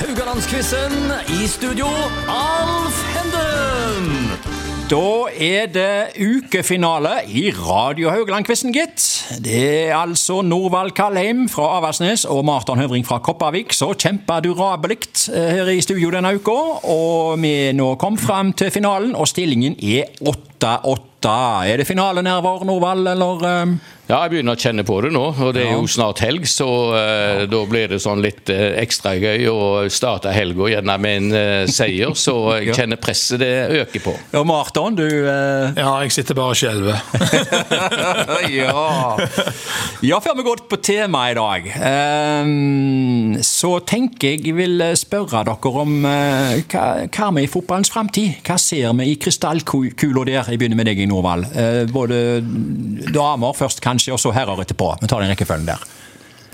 Rogalandsquizen. I studio, Alf Henden. Da er det ukefinale i Radio Haugland-quizen, gitt. Det er altså Norvald Kalheim fra Aversnes og Marton Høvring fra Kopervik som kjemper durabelig eh, her i studio denne uka. Og vi nå kom fram til finalen, og stillingen er 8-8. Er det finalenerver, Norvald, eller eh, Ja, jeg begynner å kjenne på det nå, og det er jo snart helg, så eh, da blir det sånn litt eh, ekstra gøy å starte helga gjerne med en eh, seier, så jeg kjenner presset det øker på. Ja, Marton, du eh, Ja, jeg sitter bare og skjelver. ja. ja, før vi går på temaet i dag, ehm, så tenker jeg jeg vil eh, spørre dere om eh, hva, hva med i fotballens framtid? Hva ser vi i krystallkula der? Jeg begynner med deg, Norvald. Eh, både damer først, kanskje, og så herrer etterpå. Vi tar den rekkefølgen der.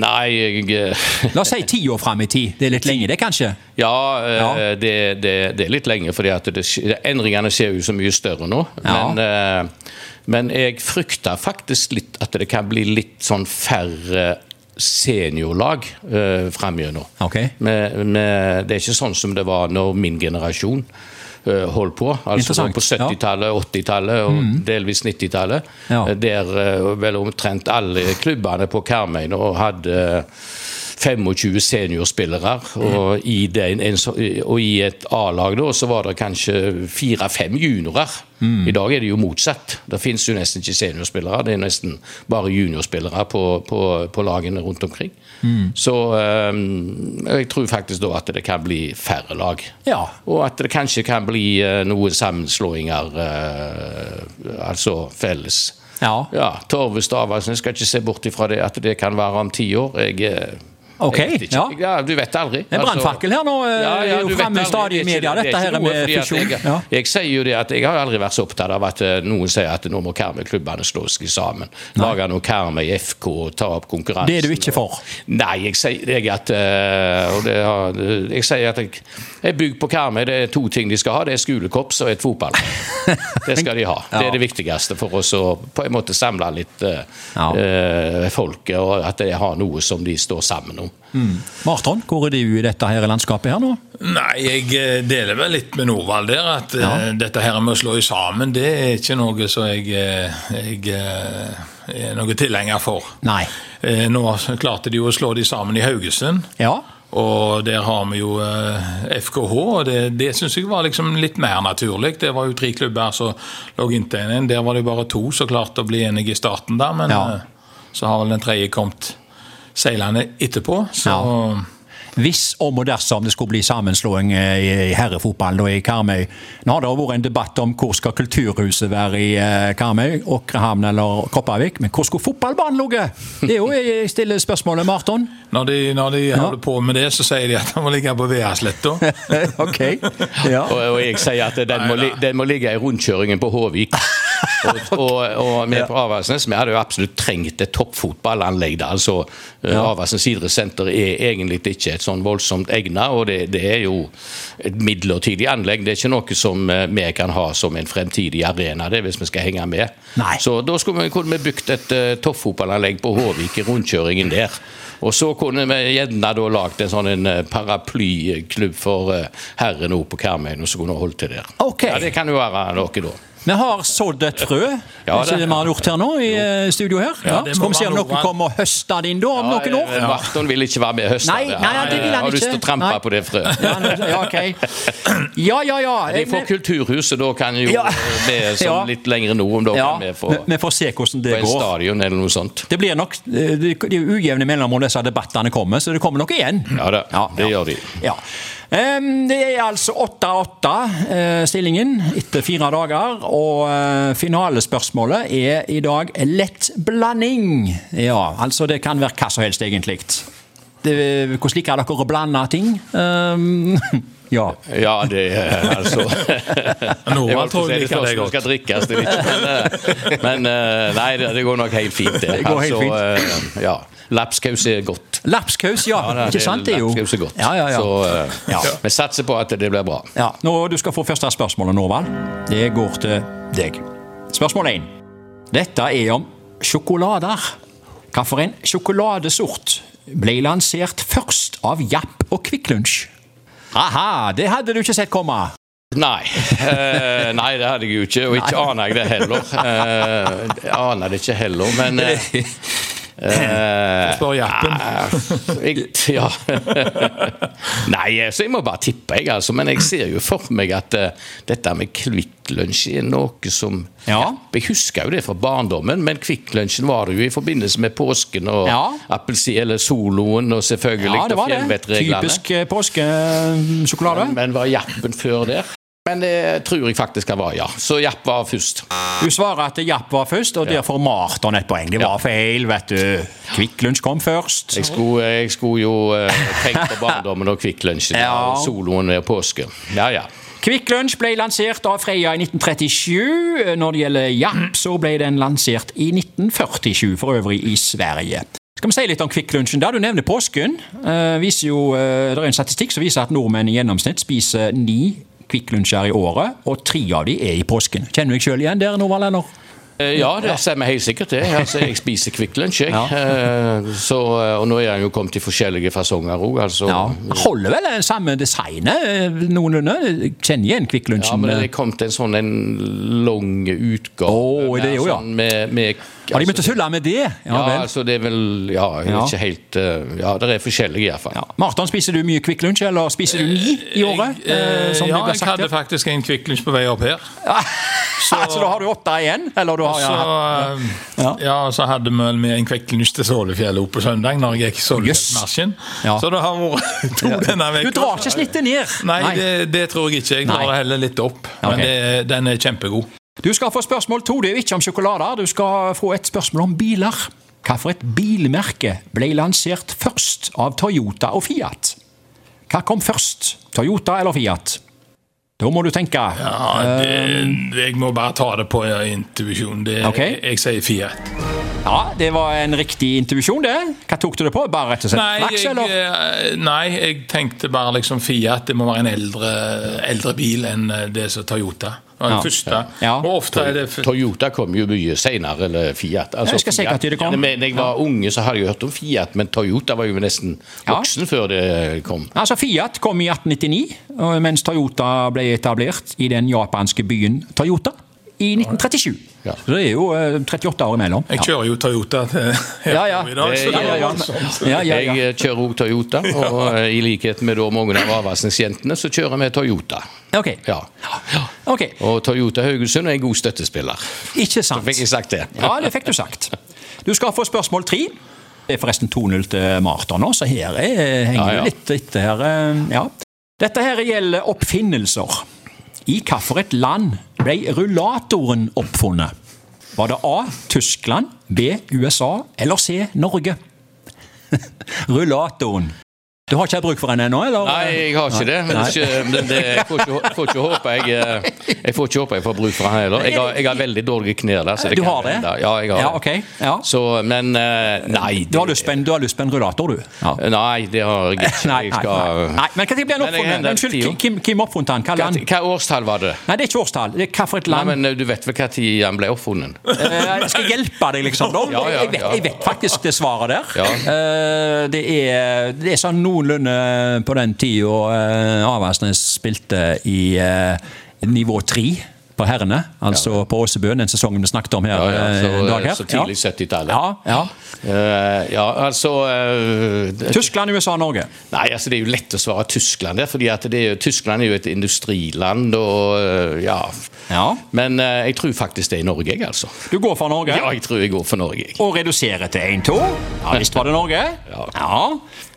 Nei, jeg eh, La oss si ti år fram i tid. Det er litt lenge, det, kanskje? Ja, eh, Ja. Det, det, det er litt lenge, fordi at det, sk- endringene ser jo så mye større nå. Ja. Men, eh, men jeg frykter faktisk litt at det kan bli litt sånn færre seniorlag eh, framgjennom. Ok. Med, med, det er ikke sånn som det var når min generasjon eh, holdt på. Altså Interessant, på 70-tallet, 80-tallet og delvis 90-tallet. Ja. eh, Der eh, vel omtrent alle klubbene på Karmøy nå hadde eh, 25 seniorspillere. Og i, den, en, så- og i et A-lag da, så var det kanskje fire-fem juniorer. I dag er det jo motsatt. Det finnes jo nesten ikke seniorspillere. Det er nesten bare juniorspillere på, på, på lagene rundt omkring. Så eh, jeg tror faktisk da at det kan bli færre lag. Ja. Og at det kanskje kan bli eh, noen sammenslåinger, eh, altså felles. Ja. Ja, Torvestad Avaldsnes skal ikke se bort ifra det at det kan være om ti år. Jeg, eh, Ok, jeg vet ikke. ja. ja. Du vet aldri. En Altså- brannfakkel her nå. eh, Ja, ja, er du jo vet fremme aldri. stadig i Det er ikke- media, det er dette ikke her noe, med fordi at fusjon. Jeg, Ja. jeg sier jo det at jeg har aldri vært så opptatt av at eh, noen sier at nå må Karmøy-klubbene slås i sammen. Lage noe Karmøy FK og ta opp konkurransen. Det er du ikke for? Nei, jeg sier jeg at eh, og det har, Jeg sier at jeg, jeg er bygd på Karmøy. Det er to ting de skal ha. Det er skolekorps og et fotballag. Det skal de ha. Det Ja. er det viktigste for oss å på en måte samle litt eh, Ja. eh, folket, og at de har noe som de står sammen om. Mm. Marton, hvor er du i dette her landskapet her nå? Nei, jeg eh, deler vel litt med Norvald der, at eh, dette her med å slå i sammen, det er ikke noe som jeg, eh, jeg eh, er noe tilhenger for. Nei. Eh, Nå klarte de jo å slå de sammen i Haugesund. Ja. Og der har vi jo eh, FKH, og det, det syns jeg var liksom litt mer naturlig. Det var jo tre klubber som lå inntil en. Der var det jo bare to som klarte å bli enige i starten, da, men Ja. eh, så har vel den tredje kommet seilende etterpå. Så Ja. Hvis om og dersom det skulle bli sammenslåing eh, i i herrefotballen og i Karmøy. Nå har det jo vært en debatt om hvor skal kulturhuset være i eh, Karmøy, Åkrehamn eller Kopervik. Men hvor skulle fotballbanen ligge? Det er jo jeg stiller spørsmålet, Marton. når de, når de holder på med det, så sier de at han må ligge på Veasletta. ok. Ja. Og, og jeg sier at den må, li, den må ligge i rundkjøringen på Håvik. og, og, og vi på Avaldsnes vi hadde jo absolutt trengt et toppfotballanlegg der. altså ja. Avaldsnes idrettssenter er egentlig ikke et sånn voldsomt egnet, og det, det er jo et midlertidig anlegg. Det er ikke noe som eh, vi kan ha som en fremtidig arena, det er hvis vi skal henge med. Nei. Så da skulle vi, kunne vi bygd et uh, toppfotballanlegg på Håvik i rundkjøringen der. Og så kunne vi gjerne da lagd en sånn en eh, paraplyklubb for uh, herren oppe på Karmøyen, og så kunne vi holdt til der. Ok. Ja, det kan jo være noe, da. Vi har sådd et frø, Ja, Er ikke det- det vi har gjort her nå i eh, studio her. Ja, det Så må kan vi se være om noe. noen kommer og høster det inn da om noen år. Ja. Marton vil ikke være med i høst. Nei, nei, ja, det vil han Har lyst til ikke. å trampe Nei. på det frøet. Ja, nå- ja, ok. Ja, ja, ja. De får Men- Kulturhuset, da kan jo Ja. eh, vi Ja. som litt lengre nord om da Ja, kan vi få vi vi får se hvordan på det en går. stadion eller noe sånt. Det blir nok eh, det det er jo ujevne mellomrom disse debattene kommer, så det kommer nok igjen. Ja da, det gjør de. Ja. Em, Det er altså 8-8-stillingen eh, etter fire dager, og eh, finalespørsmålet er i dag lett blanding. Ja, altså det kan være hva som helst, egentlig. Det- Hvordan liker dere å blande ting? Em, ja. Ja, det eh, altså Jeg Norvald holdt på å tror si det jeg liker første det som godt. skal drikkes, det er ikke men, eh, Men eh, nei, det det går nok helt fint, det. Det går helt eh, ja. Lapskaus er godt. Lapskaus, ja. Ja, Ikke sant, det er jo Lapskaus er godt. Ja, ja, ja. Så eh, Ja. vi satser på at det blir bra. Ja, nå, Du skal få første spørsmålet, Norvald. Det går til deg. Spørsmål 1. Dette er om sjokolader. Hvilken sjokoladesort ble lansert først av Japp og Kvikk Lunsj? Aha, det hadde du ikke sett komme. Nei. Eh, nei, det hadde jeg jo ikke. Og ikke aner jeg det heller. Eh, jeg aner det ikke heller, men eh, eh, Spør Jappen. Ah, jeg, ja. Nei, så jeg må bare tippe, jeg, altså. Men jeg ser jo for meg at eh, dette med Kvikk Lunsj er noe som Ja. Jeg husker jo det fra barndommen, men Kvikk Lunsjen var det jo i forbindelse med påsken og Ja. appelsin, eller soloen og selvfølgelig Ja, det var det. fjellvettreglene. Typisk eh, påskesjokolade. Men var Jappen før der? Men det tror jeg faktisk han var, ja. Så Japp var først. Du svarer at Japp var først, og der får Marton et poeng. Det var feil, vet du. Kvikk Lunsj kom først. Jeg skulle, jeg skulle jo eh, tenkt på barndommen og Kvikk Lunsjen Ja. og soloen og påsken. Ja, ja. Kvikk Lunsj ble lansert av Freia i 1937. Når det gjelder Japp, så ble den lansert i 1947, for øvrig i Sverige. Skal vi si litt om Kvikk Lunsjen? Da du nevner påsken, eh, viser jo, eh, det er en statistikk som viser at nordmenn i gjennomsnitt spiser ni Kvikk Lunsjer i året, og tre av de er i påsken. Kjenner du deg sjøl igjen der, Norvald? eller? Eh, Ja, det stemmer helt sikkert det. Altså, jeg spiser Kvikk Lunsj, jeg. Ja. Eh, Så, eh, og nå er han jo kommet i forskjellige fasonger òg, altså. Ja, Holder vel det samme designet eh, noenlunde? Kjenner igjen Kvikk Ja, Lunsjen. men eh. det er kommet en sånn en lang utgave. Å, er det med jo, ja. sånn Med, med, altså, Har de begynt å tulle med det? Ja, Ja, vel. altså, det er vel Ja, jeg Ja. er ikke helt eh, Ja, det er forskjellige, iallfall. Ja. Marton, spiser du mye Kvikk Lunsj, eller spiser du ni i året? eh, som ja, det ble jeg sagt hadde her? faktisk en Kvikk Lunsj på vei opp her. Så altså, da har du åtte igjen? Eller du har Så, ja, hatt- eh, ja, så hadde vi vel med en Kvikk Lunsj til Sålefjellet opp på søndag når jeg gikk Sålefjellsmarsjen. Ja. Så det har vært to denne Du uka. drar ikke snittet ned! Nei, det, det tror jeg ikke. Jeg drar Nei. det heller litt opp. Ja, ok. Men det, den er kjempegod. Du skal få spørsmål to. Det er jo ikke om sjokolader. Du skal få et spørsmål om biler. Hvilket bilmerke ble lansert først av Toyota og Fiat? Hva kom først? Toyota eller Fiat? Da må du tenke. Ja, det, jeg må bare ta det på intuisjon. Det- Um, Ok. Jeg, jeg sier Fiat. Ja, det var en riktig intuisjon, det. Hva tok du det på? Bare rett og slett Nei flaks, jeg, eller? eh, nei, jeg tenkte bare liksom Fiat. Det må være en eldre, eldre bil enn eh, det som Toyota. Det var Den Ja. første. Ja. Og ofte er det f- Toyota kom jo mye senere, eller Fiat. Altså, Jeg skal se hva tid det kom. Ja, men Da jeg var unge, så hadde jeg hørt om Fiat, men Toyota var jo nesten Ja. voksen før det kom. Altså, Fiat kom i 1899, og- mens Toyota ble etablert i den japanske byen Toyota i 1937. Ja. Så det er jo eh, 38 år imellom. Jeg kjører jo Toyota til Ja, ja. i dag, så Ja, det ja, er ja. voldsomt. Ja, ja, ja. Jeg eh, kjører òg Toyota, og eh, i likhet med da mange av Avaldsnes-jentene, så kjører vi Toyota. Ok. Ja. Ok, Og Toyota Haugesund er en god støttespiller. Ikke sant. Fikk jeg sagt det? Ja, det fikk du sagt. Du skal få spørsmål tre. Det er forresten 2-0 til Marton nå, så her er, henger Ja, du ja. litt etter. her. eh, Ja. Dette her gjelder oppfinnelser. I hvilket land ble rullatoren oppfunnet? Var det A. Tyskland, B. USA eller C. Norge? Rullatoren. Du har ikke hatt bruk for den ennå, eller? Nei, jeg har ikke det. Men ikke, men det jeg, får ikke, får ikke håpe jeg, eh, jeg får ikke håpe jeg får bruk for han heller. Jeg har, jeg har veldig dårlige knær der. Så det Du kan har det? hende. Ja, jeg har Ja, det. ok. Ja. Så, men eh, nei. Du har lyst på en, du har lyst på en rullator, du? Ja. Nei, det har jeg ikke. Nei, nei, Jeg nei. skal... nei, men hva tid ble den Men jeg oppfunnet? hender Unnskyld, tida. hvem- hvem- hvem oppfunnet den? Hva Hva, land? hva årstall var det? Nei, det er ikke årstall. Det er hvilket Nei, land. men eh, Du vet vel når han ble oppfunnet? Eh, jeg skal hjelpe deg, liksom. Da. Ja, ja, jeg, vet, ja. jeg vet faktisk det svaret der. Ja. Eh, det, er, det er sånn noenlunde på den tida eh, Avaldsnes spilte i eh, nivå tre på herrene, altså på Åsebøen, den sesongen vi snakket om her. Ja, ja, så, eh, en dag her. så tidlig ja. 70-tallet. Ja, ja. Eh, ja, altså eh, det- Tyskland, USA, Norge. Nei, altså Det er jo lett å svare Tyskland der, fordi at det er, jo- Tyskland er jo et industriland og eh, ja. Ja. Men eh, jeg tror faktisk det er Norge, jeg, altså. Du går for Norge. Ja, jeg tror jeg går for Norge. jeg. og redusere til 1-2. Ja visst var det Norge. Ja.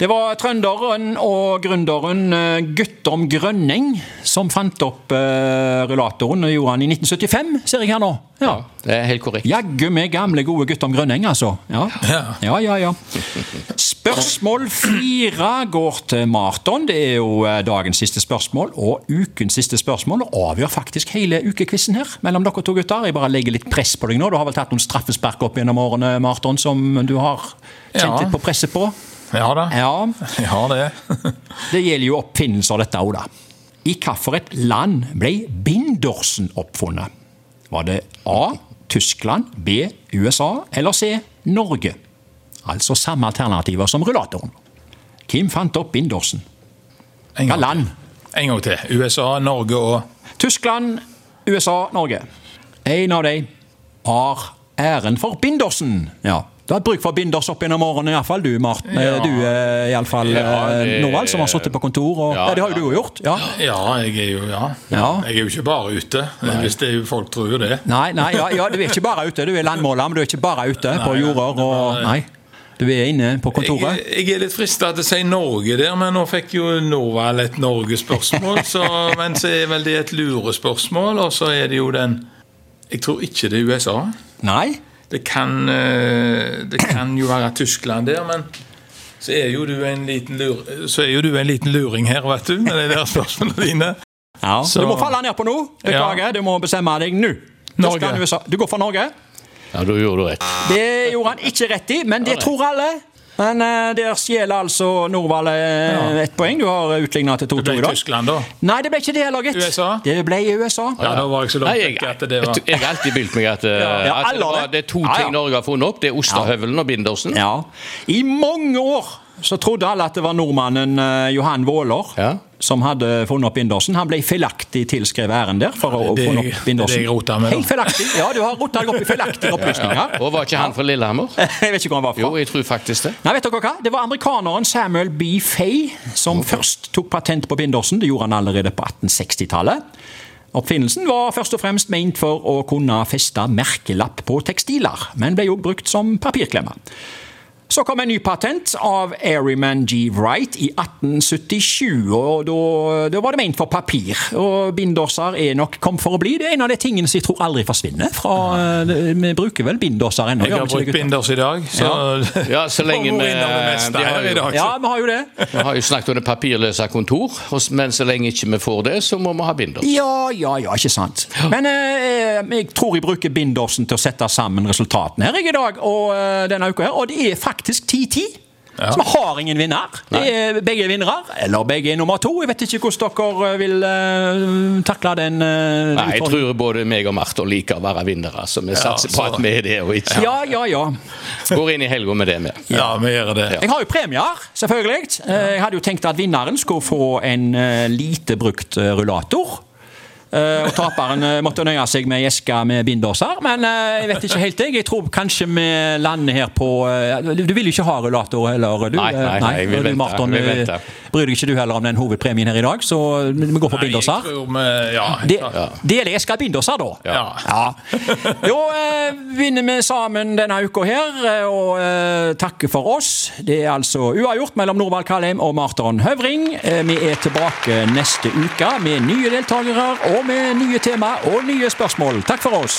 Det var trønderen og gründeren eh, Guttorm Grønning som fant opp eh, rullatoren. Det gjorde han i 1975, ser jeg her nå. Ja. Det er helt korrekt. Jaggu meg gamle, gode Guttorm Grønning, altså. Ja, Ja. ja, ja. ja. Spørsmål fire går til Marton. Det er jo eh, dagens siste spørsmål og ukens siste spørsmål. Og avgjør faktisk hele ukekvissen her mellom dere to gutter. Jeg bare legger litt press på deg nå. Du har vel tatt noen straffespark opp gjennom årene, Marton, som du har kjent Ja. litt på presset på? Ja da. Ja. Jeg har det. Det gjelder jo oppfinnelser, dette òg, da. I hvilket land ble bindersen oppfunnet? Var det A. Tyskland, B. USA eller C. Norge? Altså samme alternativer som rullatoren. Hvem fant opp bindersen? En Hva gang. land? En gang til. USA, Norge og Tyskland, USA, Norge. En av de har æren for Bindersen. Ja. Du har hatt bruk for binders opp gjennom årene, iallfall du, Marten. Ja. Du eh, iallfall Ja, ja, det- Norvald, som har sittet på kontor. Og, ja, Ja, det har jo du jo gjort. Ja. Ja, jeg er jo ja. Ja. Jeg er jo ikke bare ute, hvis det er jo folk tror jo det. Nei, nei ja, ja, du er ikke bare ute. Du er landmåler, men du er ikke bare ute på Nei, jorder og Nei. Du er inne på Jeg, kontoret. Eh, jeg er litt frista til å si Norge der, men nå fikk jo Norvald et Norgespørsmål. så- Men så er vel det et lurespørsmål, og så er det jo den Jeg tror ikke det er USA. Nei? Det kan, eh, det kan jo være Tyskland der, men så er jo du en liten, lur, så er jo du en liten luring her, vet du, med de der spørsmålene dine. Ja. Så- Du må falle ned på nå. Beklager, du må bestemme deg nå. Norge. Tyskland, USA. Du går for Norge. Ja, da gjorde du rett. Det gjorde han ikke rett i, men det tror alle. Men eh, der stjeler altså Norvald eh, ett poeng. Du har utligna til Det 2-2 i ble dag. Tyskland, da. Nei, det ble ikke det heller, gitt. USA? Det ble i USA. Ja, da var jeg så langt Nei, vekk at det var jeg, jeg har alltid bilt meg at, eh, Ja, at alle det, har var, det. det er to Ja, ja. ting Norge har funnet opp. Det er ostehøvelen og bindersen. Ja. I mange år så trodde alle at det var nordmannen eh, Johan Våler Ja. som hadde funnet opp Bindersen. Han ble feilaktig tilskrevet æren der for å Det er- funne opp Bindersen. det er jeg roter med nå. Helt feilaktig. Ja, du har rota deg opp i feilaktige opplysninger. Og var ikke han fra Lillehammer? Jeg vet ikke hvor han var fra. Jo, jeg tror faktisk det. Nei, vet dere hva? Det var amerikaneren Samuel B. Fay som først tok patent på bindersen. Det gjorde han allerede på 1860-tallet. Oppfinnelsen var først og fremst ment for å kunne feste merkelapp på tekstiler, men ble òg brukt som papirklemme. Så kom en ny patent av Airyman G. Wright i 1877, og da, da var det ment for papir. Og binderser er nok kommet for å bli. Det er en av de tingene som jeg tror aldri forsvinner. Fra, eh, vi bruker vel binderser ennå? Jeg har gjør vi ikke brukt det, gutter? binders i dag, så Ja, så lenge Hvor vi innom det meste de har her i jo- dag. Ja, vi har jo det. Vi har jo snakket om det papirløse kontor, og s- men så lenge ikke vi får det, så må vi ha binders. Ja, ja, ja, ikke sant. Men eh, jeg tror jeg bruker bindersen til å sette sammen resultatene her jeg, i dag og eh, denne uka her, og det er faktisk 10-10. Så vi har ingen vinner. Det er begge vinnere, eller begge er nummer to. Jeg vet ikke hvordan dere eh, vil eh, takle den eh, Nei, jeg utfordringen. tror både meg og Marton liker å være vinnere, så vi satser på så- at vi er det og ikke Ja, ja, ja. går inn i helga med det. med. ja, vi gjør det. Jeg har jo premier, selvfølgelig. Eh, Jeg hadde jo tenkt at vinneren skulle få en eh, lite brukt eh, rullator. Eh, Og taperen eh, måtte nøye seg med ei eske med binderser. Men eh, jeg vet ikke helt, jeg. Jeg tror kanskje vi lander her på eh, Du vil jo ikke ha rullator heller, du? Nei, nei, eh, nei, jeg vil og du, vente, Marton, jeg vil eh, vente. bryr deg ikke du heller om den hovedpremien her i dag, så vi går for Nei, jeg binderser. tror vi- Ja, Det, ja. det er det jeg skal bindes av, da. Ja. Jo, eh, vinner vi sammen denne uka her, eh, og eh, takker for oss. Det er altså uavgjort mellom Norvald Kalheim og Marton Høvring. Eh, vi er tilbake neste uke med nye deltakere og med nye tema og nye spørsmål. Takk for oss.